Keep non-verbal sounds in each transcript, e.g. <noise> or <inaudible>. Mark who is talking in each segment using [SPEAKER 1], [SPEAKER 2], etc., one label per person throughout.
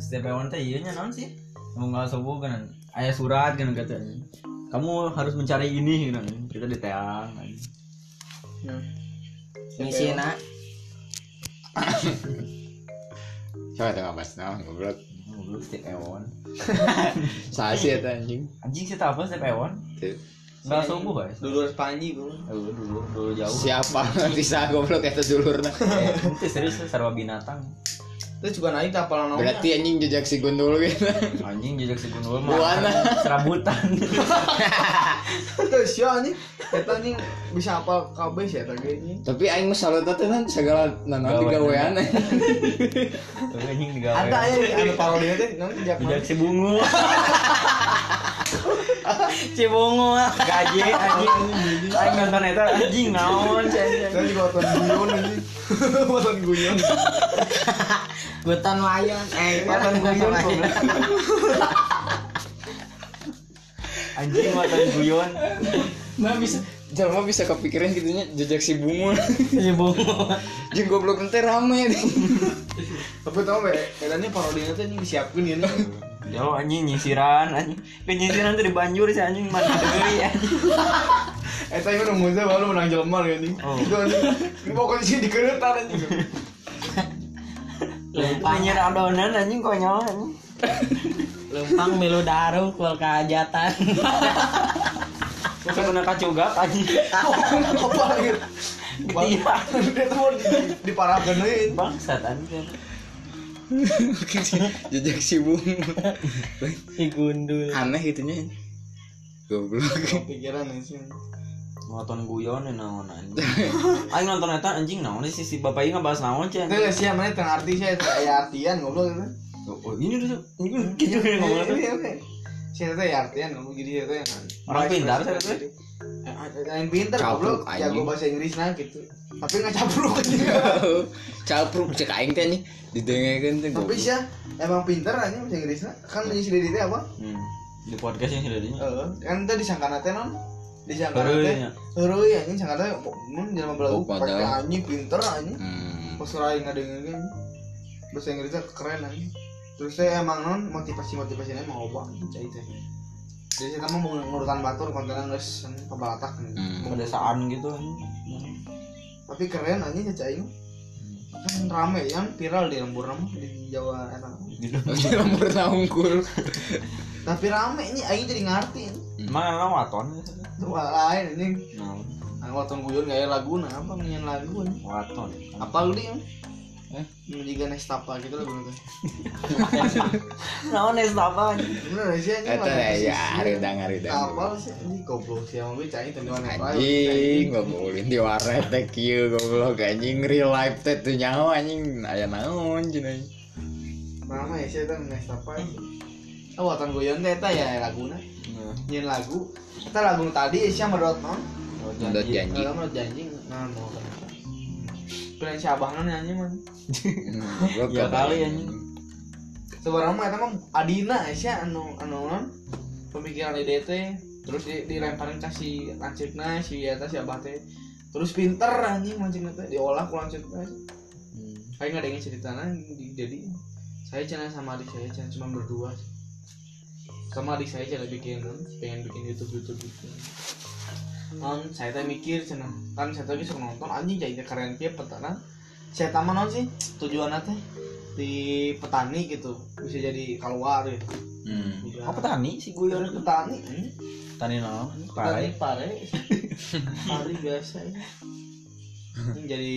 [SPEAKER 1] setiap hewan teh iya nya naon sih mau nggak sewu kan ayah surat kan katanya kamu harus mencari ini kan kita di teang kan.
[SPEAKER 2] Nah. Misi nak
[SPEAKER 3] Coba tengah bahas Nah, naon goblok.
[SPEAKER 1] Goblok setiap hewan
[SPEAKER 3] Saha sih eta anjing?
[SPEAKER 1] anjing sih apa setiap hewan
[SPEAKER 3] Teu.
[SPEAKER 1] nggak sewu guys
[SPEAKER 4] Dulur Panji bro.
[SPEAKER 1] dulu dulu dulu jauh
[SPEAKER 3] Siapa <laughs> ngerti saha goblok eta dulurna?
[SPEAKER 1] Eh, itu serius sarwa binatang
[SPEAKER 4] Itu juga naik kapal nong.
[SPEAKER 3] Berarti anjing jejak si gundul gitu.
[SPEAKER 1] anjing jejak si gundul
[SPEAKER 3] Buana.
[SPEAKER 1] mah serabutan
[SPEAKER 4] Terus ya anjing. Eta anjing bisa apa kabeh sih eta ge anjing.
[SPEAKER 3] Tapi aing mah salut teh kan segala nah. nanaon digawean.
[SPEAKER 1] Tuh, anjing digawe
[SPEAKER 4] Ada aya di anu parodi teh naon
[SPEAKER 1] jejak
[SPEAKER 4] jejak mana?
[SPEAKER 1] si bungu Cibungu gaji anjing Aing nonton itu anjing naon cen.
[SPEAKER 4] Saya juga nonton guyon <laughs> anjing. Nonton guyon.
[SPEAKER 2] Hutan Wayon Eh
[SPEAKER 1] Waton guyon goblok. Anjing waton guyon
[SPEAKER 3] Mah bisa Jelma bisa kepikiran gitunya jejak si bungun
[SPEAKER 2] Si bungo
[SPEAKER 3] Jeung goblok teh rame ya,
[SPEAKER 4] Tapi tau be, eta nih parodinya teh anjing disiapkeun ya.
[SPEAKER 1] Jauh anjing nyisiran anjing Ke nyisiran tuh di banjur si anjing mana deui anjing
[SPEAKER 4] Eta ieu nu muza baru menang jelema ya anjing.
[SPEAKER 1] Oh.
[SPEAKER 4] Itu anjing. Ini pokoknya sih dikereutan anjing.
[SPEAKER 1] Lempanyir adonan anjing konyol anjing
[SPEAKER 2] Lempang milu daru Kual kehajatan
[SPEAKER 1] Terus kena kacugap anjing
[SPEAKER 4] Apa lagi?
[SPEAKER 1] Ketiak
[SPEAKER 4] Dia tuh mau di- diparahkeun euy.
[SPEAKER 1] Bangsat anjing
[SPEAKER 3] <laughs> jejak si bungun
[SPEAKER 2] Si gundul
[SPEAKER 3] aneh gitunya goblok
[SPEAKER 4] Kepikiran anjing.
[SPEAKER 1] Nonton guyon ya naon <laughs> anjing Aing nonton eta anjing naon sih si bapak ieu ngebahas naon cen
[SPEAKER 4] Itu sih mana tengah arti sih ya artian goblok itu.
[SPEAKER 1] Oh, oh, ini tuh ini gitu yang ngomong tuh.
[SPEAKER 4] Saya teh artian kamu jadi saya teh kan.
[SPEAKER 1] Orang pintar, saya teh.
[SPEAKER 4] Yang pintar
[SPEAKER 3] Capluk,
[SPEAKER 4] goblok jago
[SPEAKER 3] anjing.
[SPEAKER 4] bahasa Inggris nah gitu. Tapi enggak <laughs> capluk anjing.
[SPEAKER 3] capruk cek aing teh nih didengekeun teh
[SPEAKER 4] Tapi
[SPEAKER 3] goblok.
[SPEAKER 4] sih emang pintar anjing bahasa Inggris nah. Kan ini si Dedi teh apa?
[SPEAKER 1] Hmm. Di podcast yang sudah dinya.
[SPEAKER 4] Heeh. Kan tadi disangkana teh non. Disangkana
[SPEAKER 1] Heureuy
[SPEAKER 4] teh.
[SPEAKER 1] nya.
[SPEAKER 4] Heureuy anjing sangkana teh mun jelema
[SPEAKER 3] Oh,
[SPEAKER 4] belagu
[SPEAKER 3] padahal.
[SPEAKER 4] pake anjing pintar anjing.
[SPEAKER 3] Hmm.
[SPEAKER 4] Pas lain ngadengeun bahasa Inggrisnya keren anjing. Terus saya emang non motivasi-motivasinya emang loba anjing cai teh. Jadi kita mau mengurutan batur kontennya nges pebalatak
[SPEAKER 3] Hmm.
[SPEAKER 1] Pedesaan gitu.
[SPEAKER 4] Tapi keren aja ya cai Kan rame yang viral di lembur nama di Jawa eh, eta.
[SPEAKER 1] Gitu.
[SPEAKER 3] Di lembur naungkul
[SPEAKER 4] Tapi rame ini aing jadi ngerti. ini.
[SPEAKER 1] Emang ana waton. gitu.
[SPEAKER 4] Tuh ah, lain ini
[SPEAKER 1] Nah,
[SPEAKER 4] anggota guyon gaya lagu nah apa nyanyian lagu ini.
[SPEAKER 1] waton.
[SPEAKER 4] Apa lu dia?
[SPEAKER 3] Eh?
[SPEAKER 4] Menjaga nestapa gitu lagu itu.
[SPEAKER 1] <laughs> Naon es apa?
[SPEAKER 4] Bener sih ini
[SPEAKER 3] eta ya haridang haridang
[SPEAKER 4] Apa sih ini goblok sih emang gue cai tadi mana
[SPEAKER 3] anjing ngomongin di warnet teh kieu goblok anjing real life teh tuh nyawa anjing aya naon cina
[SPEAKER 4] Mama ya sih eta nestapa. Oh, watan guyon teh eta ya laguna.
[SPEAKER 1] Nah,
[SPEAKER 4] Nyanyian lagu. Eta lagu tadi sih merot non.
[SPEAKER 1] oh,
[SPEAKER 3] Mendot
[SPEAKER 1] Iya,
[SPEAKER 3] janji
[SPEAKER 4] Kalau menurut janji, nah mau kan. Kalian si abangan nyanyi man.
[SPEAKER 3] Hmm, Goblok,
[SPEAKER 1] Ya
[SPEAKER 3] kata
[SPEAKER 1] kali,
[SPEAKER 3] aing.
[SPEAKER 1] anjing.
[SPEAKER 4] Sebarang mah itu mah Adina sih anu anu non pemikiran ide teh terus di, dilemparin ke si lancipna si eta si abah teh terus pinter anjing lancipna teh diolah ku lancipna kayak nggak ada yang cerita jadi saya channel sama adik saya channel cuma berdua sama adik saya channel bikin non pengen bikin YouTube YouTube gitu non saya teh mikir channel kan saya teh bisa nonton anjing jadi keren dia petana saya taman non sih tujuannya teh di petani gitu bisa jadi keluar gitu
[SPEAKER 3] Hmm.
[SPEAKER 1] Oh, petani si
[SPEAKER 4] Tujuan
[SPEAKER 1] guyon.
[SPEAKER 4] petani anjing.
[SPEAKER 1] Petani naon?
[SPEAKER 4] petani
[SPEAKER 1] Pare.
[SPEAKER 4] pare pare biasa ya Anjing jadi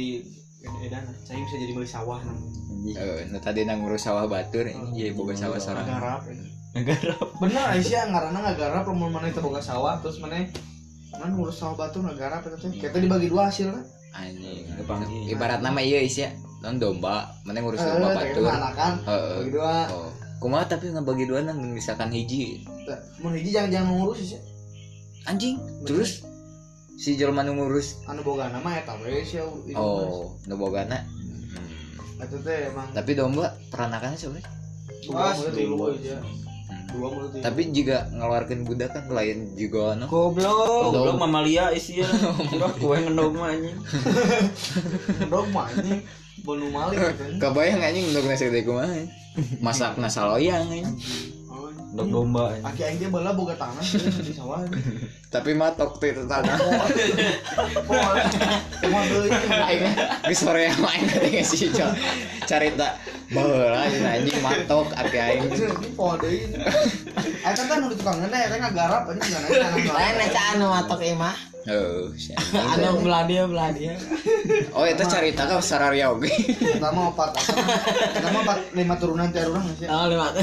[SPEAKER 4] edan saya bisa jadi beli sawah nang
[SPEAKER 3] Eh, nu tadi nang ngurus sawah batur jadi boga sawah sorang
[SPEAKER 4] garap ya.
[SPEAKER 1] Negara.
[SPEAKER 4] bener Aisyah ngarana nggak pemun mana itu boga sawah terus mana mana ngurus sawah batu nggak garap itu teh kita dibagi dua hasilnya
[SPEAKER 3] anjing
[SPEAKER 1] Kepanggil.
[SPEAKER 3] ibarat nama iya isi ya non domba mana ngurus
[SPEAKER 4] Eh,
[SPEAKER 3] domba
[SPEAKER 4] teh,
[SPEAKER 3] batur
[SPEAKER 4] anak kan
[SPEAKER 3] Heeh.
[SPEAKER 4] bagi dua
[SPEAKER 3] Oh. Kumaha tapi ngebagi dua nang misalkan hiji
[SPEAKER 4] Teh, mun hiji jangan jangan ngurus sih
[SPEAKER 3] anjing terus si jelma nu ngurus
[SPEAKER 4] anu boga nama ya tahu ya sih
[SPEAKER 3] oh nu bogana
[SPEAKER 4] itu teh emang
[SPEAKER 3] tapi domba peranakannya sebenarnya
[SPEAKER 4] Wah, itu tilu aja
[SPEAKER 3] Hmm.
[SPEAKER 4] dua mulut ya.
[SPEAKER 3] tapi jika ngeluarkan budak kan lain juga no
[SPEAKER 1] Oh,
[SPEAKER 2] Goblok.
[SPEAKER 1] goblok mamalia ya. <laughs> isinya. Kira kowe ngendog mah anjing.
[SPEAKER 4] dogma ini bonu malik
[SPEAKER 3] <laughs>
[SPEAKER 4] gitu ini.
[SPEAKER 3] kebayang anjing untuk nasi gede kumah masak nasa loyang ya. anjing.
[SPEAKER 4] Oh, ini.
[SPEAKER 1] Ngendog domba <laughs> anjing.
[SPEAKER 4] aki aing dia bala boga tanah ini di sawah
[SPEAKER 3] tapi matok tuh itu tanah
[SPEAKER 4] Poal. Poal deui.
[SPEAKER 3] Aing di sore yang main tadi sih cok carita bahwa anjing anjing matok aki aing
[SPEAKER 4] ini poal deui ini. Eh, Eta teh nu di tukang ngeuneh, eta ngagarap
[SPEAKER 1] <laughs>
[SPEAKER 4] anjing ngeuneh, ngeuneh, ngeuneh.
[SPEAKER 2] Lain aja anu matok imah.
[SPEAKER 3] oh si anjing.
[SPEAKER 2] Anu belah dia belah dia.
[SPEAKER 3] oh itu carita kan sararia oke
[SPEAKER 4] Eta mah opat. Eta mah opat lima turunan tiar urang geus ya.
[SPEAKER 2] Oh lewat.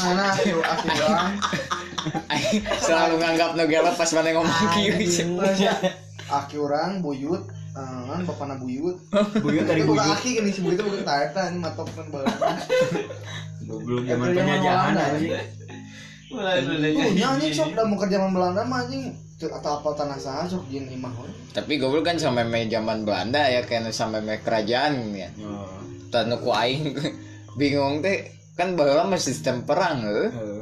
[SPEAKER 4] Mana aki aki urang.
[SPEAKER 3] Aing selalu nganggap nu gelap pas mana ngomong kieu cok.
[SPEAKER 4] Aki urang buyut. eh, Kan bapana buyut.
[SPEAKER 1] Buyut
[SPEAKER 4] Itu
[SPEAKER 1] dari
[SPEAKER 4] bukan
[SPEAKER 1] buyut.
[SPEAKER 4] aki gini sih buyut bukan tarta ini matok kan bala.
[SPEAKER 1] <laughs> Goblok zaman
[SPEAKER 4] Itu zaman
[SPEAKER 1] penjajahan
[SPEAKER 4] Belanda,
[SPEAKER 1] anjing.
[SPEAKER 4] Punya anjing sok udah mau kerja sama Belanda mah anjing atau apa tanah saha sok jin imah we.
[SPEAKER 3] tapi goblok kan sampai me zaman Belanda ya kayak sampai me kerajaan ya
[SPEAKER 1] Oh,
[SPEAKER 3] tanu ku aing <laughs> bingung teh kan bahwa masih sistem perang heuh.
[SPEAKER 1] eh.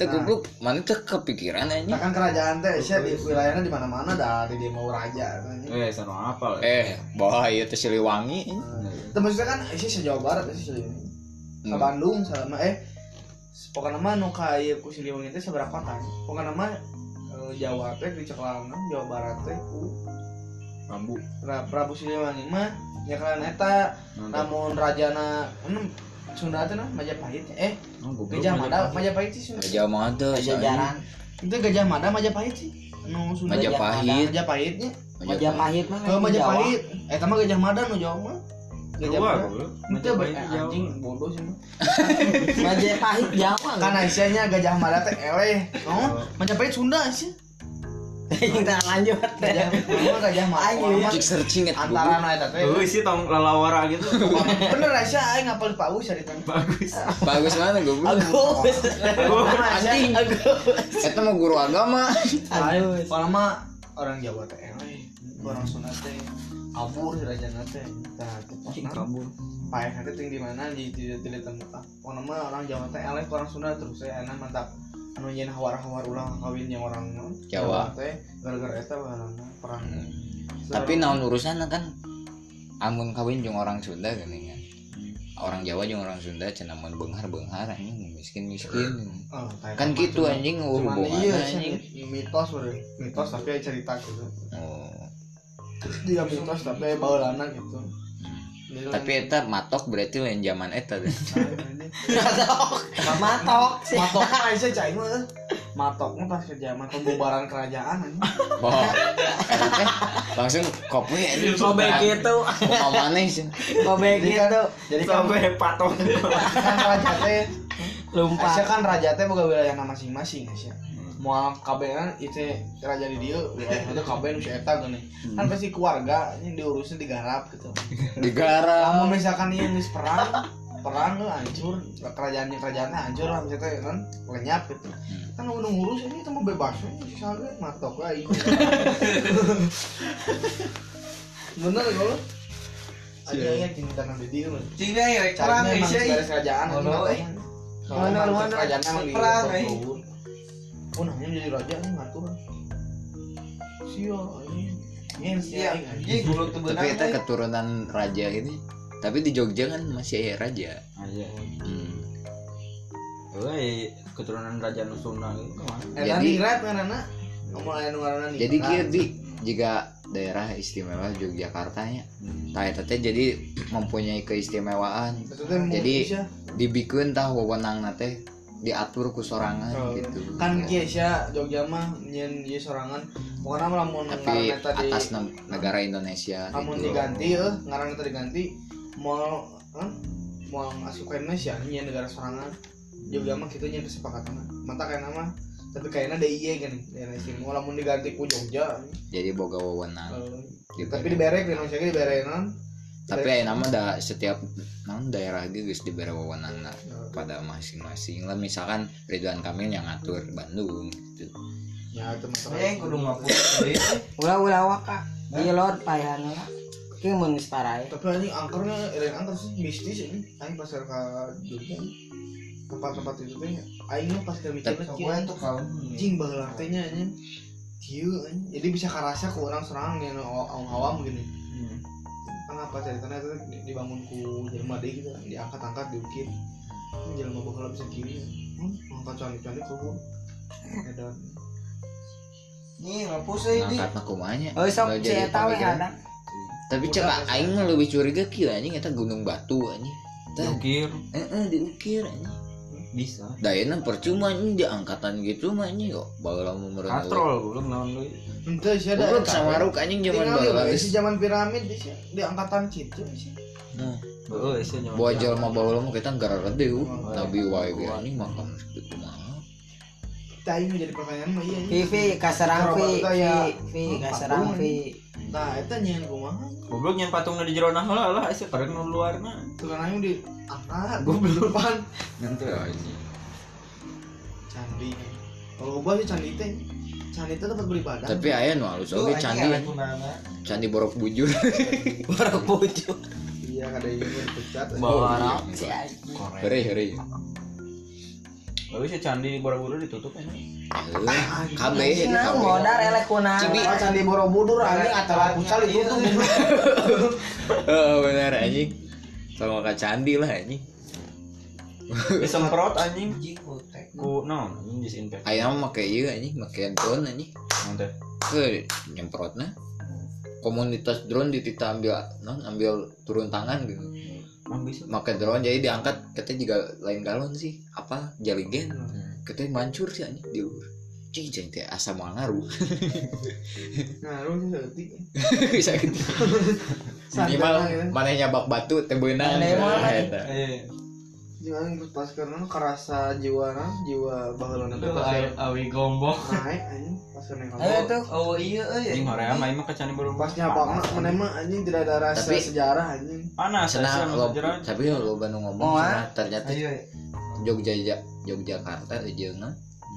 [SPEAKER 3] Teh goblok mana teh kepikiran
[SPEAKER 4] Nah
[SPEAKER 3] anjing.
[SPEAKER 4] kan kerajaan teh sih di wilayahnya di mana-mana dari dia mau raja. anjing.
[SPEAKER 1] Eh, sana apa?
[SPEAKER 3] Eh, bahaya teh Siliwangi.
[SPEAKER 4] Itu maksudnya kan sih sejauh barat sih sejauh ini. Ke
[SPEAKER 3] Hmm.
[SPEAKER 4] Bandung sama eh pokoknya mah nu ka ieu ku Siliwangi teh seberapa kota. Pokoknya mah eh, Jawa teh di Ceklaman, Jawa Barat teh ku
[SPEAKER 1] Bambu.
[SPEAKER 4] Pra- Prabu Siliwangi mah ya kan eta
[SPEAKER 1] Mantap.
[SPEAKER 4] namun rajana enem Sunda teh nah Majapahit eh
[SPEAKER 1] Oh, goblok,
[SPEAKER 4] Gajah Mada
[SPEAKER 1] Majapahit.
[SPEAKER 4] Majapahit sih Sunda.
[SPEAKER 3] Raja Mada,
[SPEAKER 2] Jajaran.
[SPEAKER 4] Itu Gajah Mada Majapahit sih. Nu Sunda
[SPEAKER 3] Majapahit.
[SPEAKER 2] Majapahit.
[SPEAKER 4] Majapahitnya.
[SPEAKER 2] Majapahit mah.
[SPEAKER 4] Ke Oh, Majapahit. Eh tama Gajah Mada nu Jawa mah. Gajah
[SPEAKER 1] Jawa,
[SPEAKER 4] Mada.
[SPEAKER 1] goblok.
[SPEAKER 4] Itu
[SPEAKER 1] Majapahit
[SPEAKER 4] eh,
[SPEAKER 1] Jawa.
[SPEAKER 4] anjing bodoh sih. <laughs> mah.
[SPEAKER 2] Jawa. Majapahit Jawa.
[SPEAKER 4] Kan Aisyahnya Gajah Mada teh eleh. Oh, Majapahit Sunda sih.
[SPEAKER 2] Kita lanjut.
[SPEAKER 3] <laughs>
[SPEAKER 4] Gajah Mama Gajah Mada.
[SPEAKER 2] Ayo,
[SPEAKER 4] Orang mah
[SPEAKER 3] Cek searching eta.
[SPEAKER 4] Antara nu eta teh.
[SPEAKER 1] Eh, sih tong lalawara gitu.
[SPEAKER 4] Bener Aisyah aing ngapal di Paus cerita.
[SPEAKER 1] Bagus.
[SPEAKER 3] Bagus mana goblok.
[SPEAKER 2] Agus.
[SPEAKER 4] Anjing.
[SPEAKER 2] Agus.
[SPEAKER 3] Eta mah guru agama.
[SPEAKER 2] Agus.
[SPEAKER 4] Orang mah orang Jawa teh eleh. Orang Sunda teh kabur rajana teh. Tah,
[SPEAKER 1] Anjing
[SPEAKER 4] tepatna.
[SPEAKER 1] kabur.
[SPEAKER 4] Pak nanti ting di mana di di di tempat orang mah orang Jawa teh elek orang Sunda terus saya enak mantap anu nyen hawar-hawar ulang kawin yang orang non
[SPEAKER 3] Jawa.
[SPEAKER 4] teh gara-gara eta bahanna perang
[SPEAKER 3] Tapi naon urusan kan amun kawin jeung orang Sunda geuning kan. Orang Jawa jeung orang Sunda cenah mun beunghar-beunghar anjing mun miskin-miskin.
[SPEAKER 4] Oh, tah, cuman-
[SPEAKER 3] Kan gitu anjing
[SPEAKER 4] cuman
[SPEAKER 3] hubungannya
[SPEAKER 4] iya anjing
[SPEAKER 3] anjing.
[SPEAKER 4] mitos beureum mitos tapi aya cerita gitu
[SPEAKER 3] Oh.
[SPEAKER 4] dia mitos tapi aya baheulana gitu Jadi
[SPEAKER 3] Tapi eta matok berarti lain zaman eta. deh.
[SPEAKER 2] Matok. Matok sih.
[SPEAKER 4] matok mah Aisyah cai mah eh. matok mah pas kerja mah pembubaran kerajaan anjing
[SPEAKER 3] Oh. Eh, langsung kopi ya, anjing.
[SPEAKER 2] Sobek gitu.
[SPEAKER 3] Kumaha maneh sih.
[SPEAKER 2] Sobek
[SPEAKER 4] jadi kan
[SPEAKER 2] gitu.
[SPEAKER 4] jadi kan
[SPEAKER 1] Sampai patok.
[SPEAKER 4] kan raja teh Aisyah
[SPEAKER 2] Lumpar.
[SPEAKER 4] kan raja teh boga wilayahna masing-masing Aisyah. Moal kabeh kan itu raja di dieu wilayah itu kabeh nu si eta geuning. Kan pasti keluarga ini diurusnya digarap gitu.
[SPEAKER 3] Digarap.
[SPEAKER 5] Iya.
[SPEAKER 4] Kalau misalkan ini geus perang, perang tuh hancur, kerajaan kerajaannya hancur lah misalnya teh kan lenyap gitu.
[SPEAKER 5] Hmm.
[SPEAKER 4] Kan udah ngurus ini itu mah bebas ini sisa ge matok lah ini. Bener ya, kalau
[SPEAKER 5] Iya.
[SPEAKER 4] Aja ya kini tangan di dieu.
[SPEAKER 5] Cina ya,
[SPEAKER 4] Cari
[SPEAKER 5] kurang
[SPEAKER 4] memang
[SPEAKER 5] Aisyah.
[SPEAKER 4] garis kerajaan
[SPEAKER 5] Oh, no, eh. Mana,
[SPEAKER 4] Soalnya emang
[SPEAKER 5] mana?
[SPEAKER 4] kerajaan emang di
[SPEAKER 5] Perang, eh.
[SPEAKER 4] Bogor. Oh, nanya jadi raja nih ngatur. Sia, anjing. Nyen, sia,
[SPEAKER 5] Iya, iya,
[SPEAKER 4] anjing.
[SPEAKER 5] gulung tuh
[SPEAKER 3] Tapi
[SPEAKER 5] benang,
[SPEAKER 3] eta
[SPEAKER 5] eh.
[SPEAKER 3] keturunan raja ini. Tapi di Jogja kan masih aya raja.
[SPEAKER 1] Aja.
[SPEAKER 3] Hmm.
[SPEAKER 1] Woi, Oh, iya, keturunan Raja Nusunda gitu mah.
[SPEAKER 4] Eh,
[SPEAKER 3] Jadi-
[SPEAKER 4] nanti ngerat, ngarana. Ngomong aya nu ngarana nih,
[SPEAKER 3] Jadi
[SPEAKER 4] ngerat.
[SPEAKER 3] kieu di jika daerah istimewa Yogyakarta nya. Tah eta teh jadi mempunyai keistimewaan.
[SPEAKER 4] Maksudnya mau
[SPEAKER 3] Jadi,
[SPEAKER 4] Sia.
[SPEAKER 3] Dibikeun tah wewenangna teh diatur ku sorangan
[SPEAKER 4] Oh,
[SPEAKER 3] Ah, gitu.
[SPEAKER 4] kan kieu sia Jogja mah nyen ieu sorangan. Pokona mah lamun
[SPEAKER 3] tapi
[SPEAKER 4] ngaran eta di
[SPEAKER 3] atas ne- negara Indonesia
[SPEAKER 4] lamun
[SPEAKER 3] gitu.
[SPEAKER 4] diganti eh, eueuh, ngaran eta diganti moal eh, moal asukeunna sia nyen negara sorangan. Jogja mah kitu nyen kesepakatanna. Mata kana mah tapi kayaknya DIY kan daerah istimewa lamun diganti ku Jogja
[SPEAKER 3] Jadi boga wewenang.
[SPEAKER 4] Eh,
[SPEAKER 3] Gitu.
[SPEAKER 4] tapi diberek di Indonesia ge diberek non
[SPEAKER 3] Tapi aya nama da setiap naon daerah ge geus dibere wewenangna.
[SPEAKER 4] Heeh.
[SPEAKER 3] pada masing-masing lah misalkan Ridwan Kamil yang ngatur Bandung gitu.
[SPEAKER 4] ya itu masalah
[SPEAKER 5] Eh, kudu ngapus. Eh,
[SPEAKER 2] Ulah ulah waka. Iya lord payana lah. Ki mun geus parai.
[SPEAKER 4] tapi anjing angkernya lain angker sih mistis ini anjing pas ke Jogja tempat-tempat itu teh aing mah pas kami
[SPEAKER 3] Tapi
[SPEAKER 4] kira
[SPEAKER 2] tuh kau
[SPEAKER 1] Iya.
[SPEAKER 4] anjing baheula teh nya anjing Dieu, anjing. jadi bisa karasa ke orang serang yang awam-awam gini
[SPEAKER 1] Hmm.
[SPEAKER 4] kenapa ceritanya itu di- dibangun ku jelma deh gitu kan diangkat-angkat diukir ini jelma bakal bisa kiri hmm, angkat candi-candi kubu edan
[SPEAKER 2] Nih ngapus
[SPEAKER 1] Iya,
[SPEAKER 2] euy di.
[SPEAKER 3] ngangkat nakumanya
[SPEAKER 2] Oh sok si eta we ada.
[SPEAKER 3] tapi cek
[SPEAKER 4] Udah,
[SPEAKER 3] aing mah lebih curiga kieu anjing eta gunung batu anjing Tah,
[SPEAKER 1] Jokir
[SPEAKER 3] heeh diukir anjing
[SPEAKER 1] bisa.
[SPEAKER 3] dayana iya, nah, percuma anjing di angkatan gitu mah anjing kok bageula memerlukan
[SPEAKER 1] Katrol belum naon lu.
[SPEAKER 4] ente sih ada
[SPEAKER 3] urut Iya, sama ruk anjing zaman
[SPEAKER 4] tinggal
[SPEAKER 3] bageula
[SPEAKER 4] ya
[SPEAKER 3] geus
[SPEAKER 4] si zaman piramid di sih di angkatan citu sih
[SPEAKER 3] Nah,
[SPEAKER 1] Heuh, sih nyaman.
[SPEAKER 3] bawa jelma bageula mah kita gara redeu
[SPEAKER 4] Oh,
[SPEAKER 3] nabi wae ge
[SPEAKER 1] Wah.
[SPEAKER 3] anjing makan segitu mah
[SPEAKER 4] tadi menjadi pertanyaan mah iya iya.
[SPEAKER 2] Vivi kaserang
[SPEAKER 4] Coba
[SPEAKER 2] Vi,
[SPEAKER 4] tuh
[SPEAKER 2] Vi,
[SPEAKER 4] ya.
[SPEAKER 2] Vi
[SPEAKER 4] Hmm,
[SPEAKER 2] kaserang
[SPEAKER 4] patung.
[SPEAKER 2] Vi.
[SPEAKER 4] nah itu nyanyian kumaha
[SPEAKER 1] Goblok nyen patung di jero nah lah lah sih pareng nu luarna.
[SPEAKER 4] tukang aing di angkat gue belum pan
[SPEAKER 1] Nanti
[SPEAKER 3] anjing
[SPEAKER 4] candi kalau gua sih candi teh candi teh tempat beribadah
[SPEAKER 3] tapi ya. aya nu alus oge candi candi borok bujur <laughs>
[SPEAKER 2] Borok bojo.
[SPEAKER 4] iya kada ieu mah dipecat anjing.
[SPEAKER 1] bawa arah.
[SPEAKER 2] Si anjing.
[SPEAKER 1] Eh,
[SPEAKER 3] heureuy heureuy
[SPEAKER 1] Lalu sih Oh, iya, candi buru-buru ditutup ya.
[SPEAKER 3] kabeh
[SPEAKER 2] Nah,
[SPEAKER 3] kabeh.
[SPEAKER 2] modar elek kunaon.
[SPEAKER 3] Cibi.
[SPEAKER 4] Ah, candi borobudur anjing acara pucal itu tuh
[SPEAKER 3] Oh benar anjing. Sama Kak Candi lah anjing.
[SPEAKER 1] Disemprot anjing
[SPEAKER 2] Anjing, botek.
[SPEAKER 1] ku naon anjing disinfek.
[SPEAKER 3] Ayam mah make ieu anjing, make handphone anjing.
[SPEAKER 1] Naon teh?
[SPEAKER 3] Ke nyemprotna. Komunitas drone di tita ambil non ambil turun tangan gitu.
[SPEAKER 1] Mah bisa.
[SPEAKER 3] Make drone jadi diangkat katanya juga lain galon sih. Apa jaligen. Katanya mancur sih anjing di luar. Cing cing teh asa mangaruh.
[SPEAKER 4] nah lu sih seperti
[SPEAKER 3] <laughs> Bisa gitu.
[SPEAKER 4] ya.
[SPEAKER 3] Minimal manehnya bak batu teh beunang.
[SPEAKER 2] Maneh mah.
[SPEAKER 3] Nah, eta.
[SPEAKER 1] Eh,
[SPEAKER 4] jangan pas karena kerasa jiwa nah jiwa bakalan
[SPEAKER 1] itu awi gombong.
[SPEAKER 4] naik anjing pas naik
[SPEAKER 2] Eh
[SPEAKER 4] kapal
[SPEAKER 2] tuh, oh iya euy.
[SPEAKER 1] Anjing Korea main mah ke candi buru
[SPEAKER 4] pas nyapa mah mana mah anjing tidak ada rasa
[SPEAKER 3] Tapi-
[SPEAKER 4] sejarah anjing
[SPEAKER 1] Panas
[SPEAKER 3] Cenah
[SPEAKER 1] asa
[SPEAKER 3] lo,
[SPEAKER 1] jeran.
[SPEAKER 3] tapi lo bandung ngomong
[SPEAKER 2] Moal.
[SPEAKER 3] cenah, ternyata
[SPEAKER 2] Ayo.
[SPEAKER 3] Jogja Yogyakarta jeung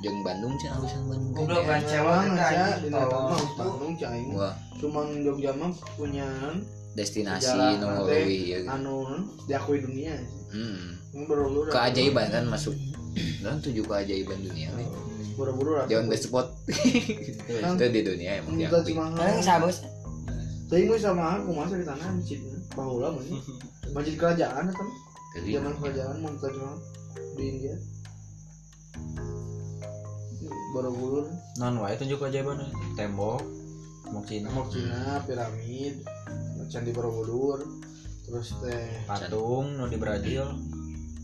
[SPEAKER 3] jeung ah, Bandung sih alusan Bandung.
[SPEAKER 2] Goblok
[SPEAKER 4] kan.
[SPEAKER 3] Kayaknya.
[SPEAKER 4] Cewek
[SPEAKER 2] bancewa anjing.
[SPEAKER 4] aja di Natal mah
[SPEAKER 2] Tolong.
[SPEAKER 4] Bandung cai
[SPEAKER 3] Wah,
[SPEAKER 4] cuma Jogja mah punya
[SPEAKER 3] destinasi
[SPEAKER 4] Sejarah,
[SPEAKER 3] nu
[SPEAKER 4] nanti.
[SPEAKER 3] leuwih ya. gitu.
[SPEAKER 4] anu diakui dunia
[SPEAKER 3] Hmm.
[SPEAKER 4] Ini borobudur
[SPEAKER 3] Keajaiban kan masuk dalam tujuh keajaiban dunia. we.
[SPEAKER 4] borobudur aku.
[SPEAKER 3] Beyond the spot. Itu di dunia emang
[SPEAKER 4] Minta
[SPEAKER 3] diakui.
[SPEAKER 4] cuma
[SPEAKER 2] Paling sabus.
[SPEAKER 4] Tapi gue sama aku masa di tanah masjid ya. Bahula masjid Masjid kerajaan kan
[SPEAKER 3] Jadi,
[SPEAKER 4] Zaman kerajaan Mumtaz Mahal Di India Borobudur
[SPEAKER 1] Non wae tunjuk ajaiban tembok mau
[SPEAKER 3] Iya.
[SPEAKER 1] Cina
[SPEAKER 4] Tembok Cina Piramid Candi Borobudur Terus teh
[SPEAKER 1] patung nu di Brazil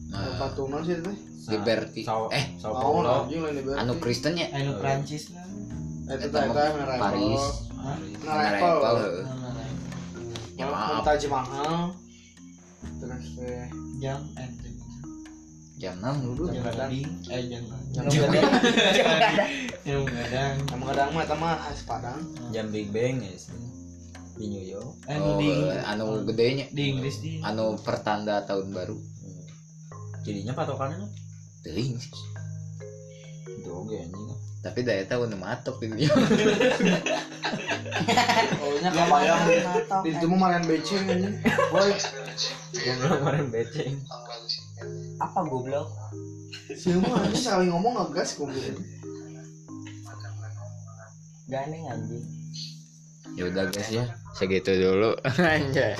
[SPEAKER 3] nah,
[SPEAKER 4] Patung non sih teh
[SPEAKER 3] Liberty.
[SPEAKER 1] Sao,
[SPEAKER 3] Eh,
[SPEAKER 1] eh Sao
[SPEAKER 4] Tahu
[SPEAKER 1] Paulo
[SPEAKER 4] anjing lain di Berlin.
[SPEAKER 3] anu Kristen
[SPEAKER 1] Nah,
[SPEAKER 3] ya
[SPEAKER 2] Anu Prancis lah.
[SPEAKER 4] Eh, Itu
[SPEAKER 3] Eta
[SPEAKER 4] teh
[SPEAKER 3] mah
[SPEAKER 4] teh merah
[SPEAKER 3] Paris.
[SPEAKER 1] Iya,
[SPEAKER 4] Nah,
[SPEAKER 3] Anu Apple.
[SPEAKER 4] Apple.
[SPEAKER 2] Nah,
[SPEAKER 3] Ya, maaf.
[SPEAKER 4] Mumtaz Mahal Terus eh, teh
[SPEAKER 2] Jam ente.
[SPEAKER 3] Jam 6
[SPEAKER 4] Dulu
[SPEAKER 2] Jam
[SPEAKER 4] kadang
[SPEAKER 2] gading, eh jam
[SPEAKER 4] Jam
[SPEAKER 2] gading. Jam gading. Jam gading. Jam gading.
[SPEAKER 4] Sama kadang mah ah, Sama khas Padang
[SPEAKER 1] jam Big Bang ya sih di New York
[SPEAKER 2] Eh,
[SPEAKER 3] Oh,
[SPEAKER 2] di,
[SPEAKER 3] anu gedenya
[SPEAKER 2] di Inggris di.
[SPEAKER 3] anu pertanda tahun baru.
[SPEAKER 1] Hmm. jadinya patokannya
[SPEAKER 3] Teuing.
[SPEAKER 1] itu oke anjing
[SPEAKER 3] Tapi daya tahu nu matok ini. <laughs>
[SPEAKER 4] Pokoknya
[SPEAKER 2] Yang
[SPEAKER 4] kebayang
[SPEAKER 2] matok,
[SPEAKER 4] Di itu mah Marian Becing anjing
[SPEAKER 1] yang kemarin beceng
[SPEAKER 2] Apa goblok?
[SPEAKER 4] Siapa anjing sekali ngomong ngegas kumpul
[SPEAKER 2] Gandeng anjing.
[SPEAKER 3] <laughs> Ya udah guys ya, segitu dulu. Anjay.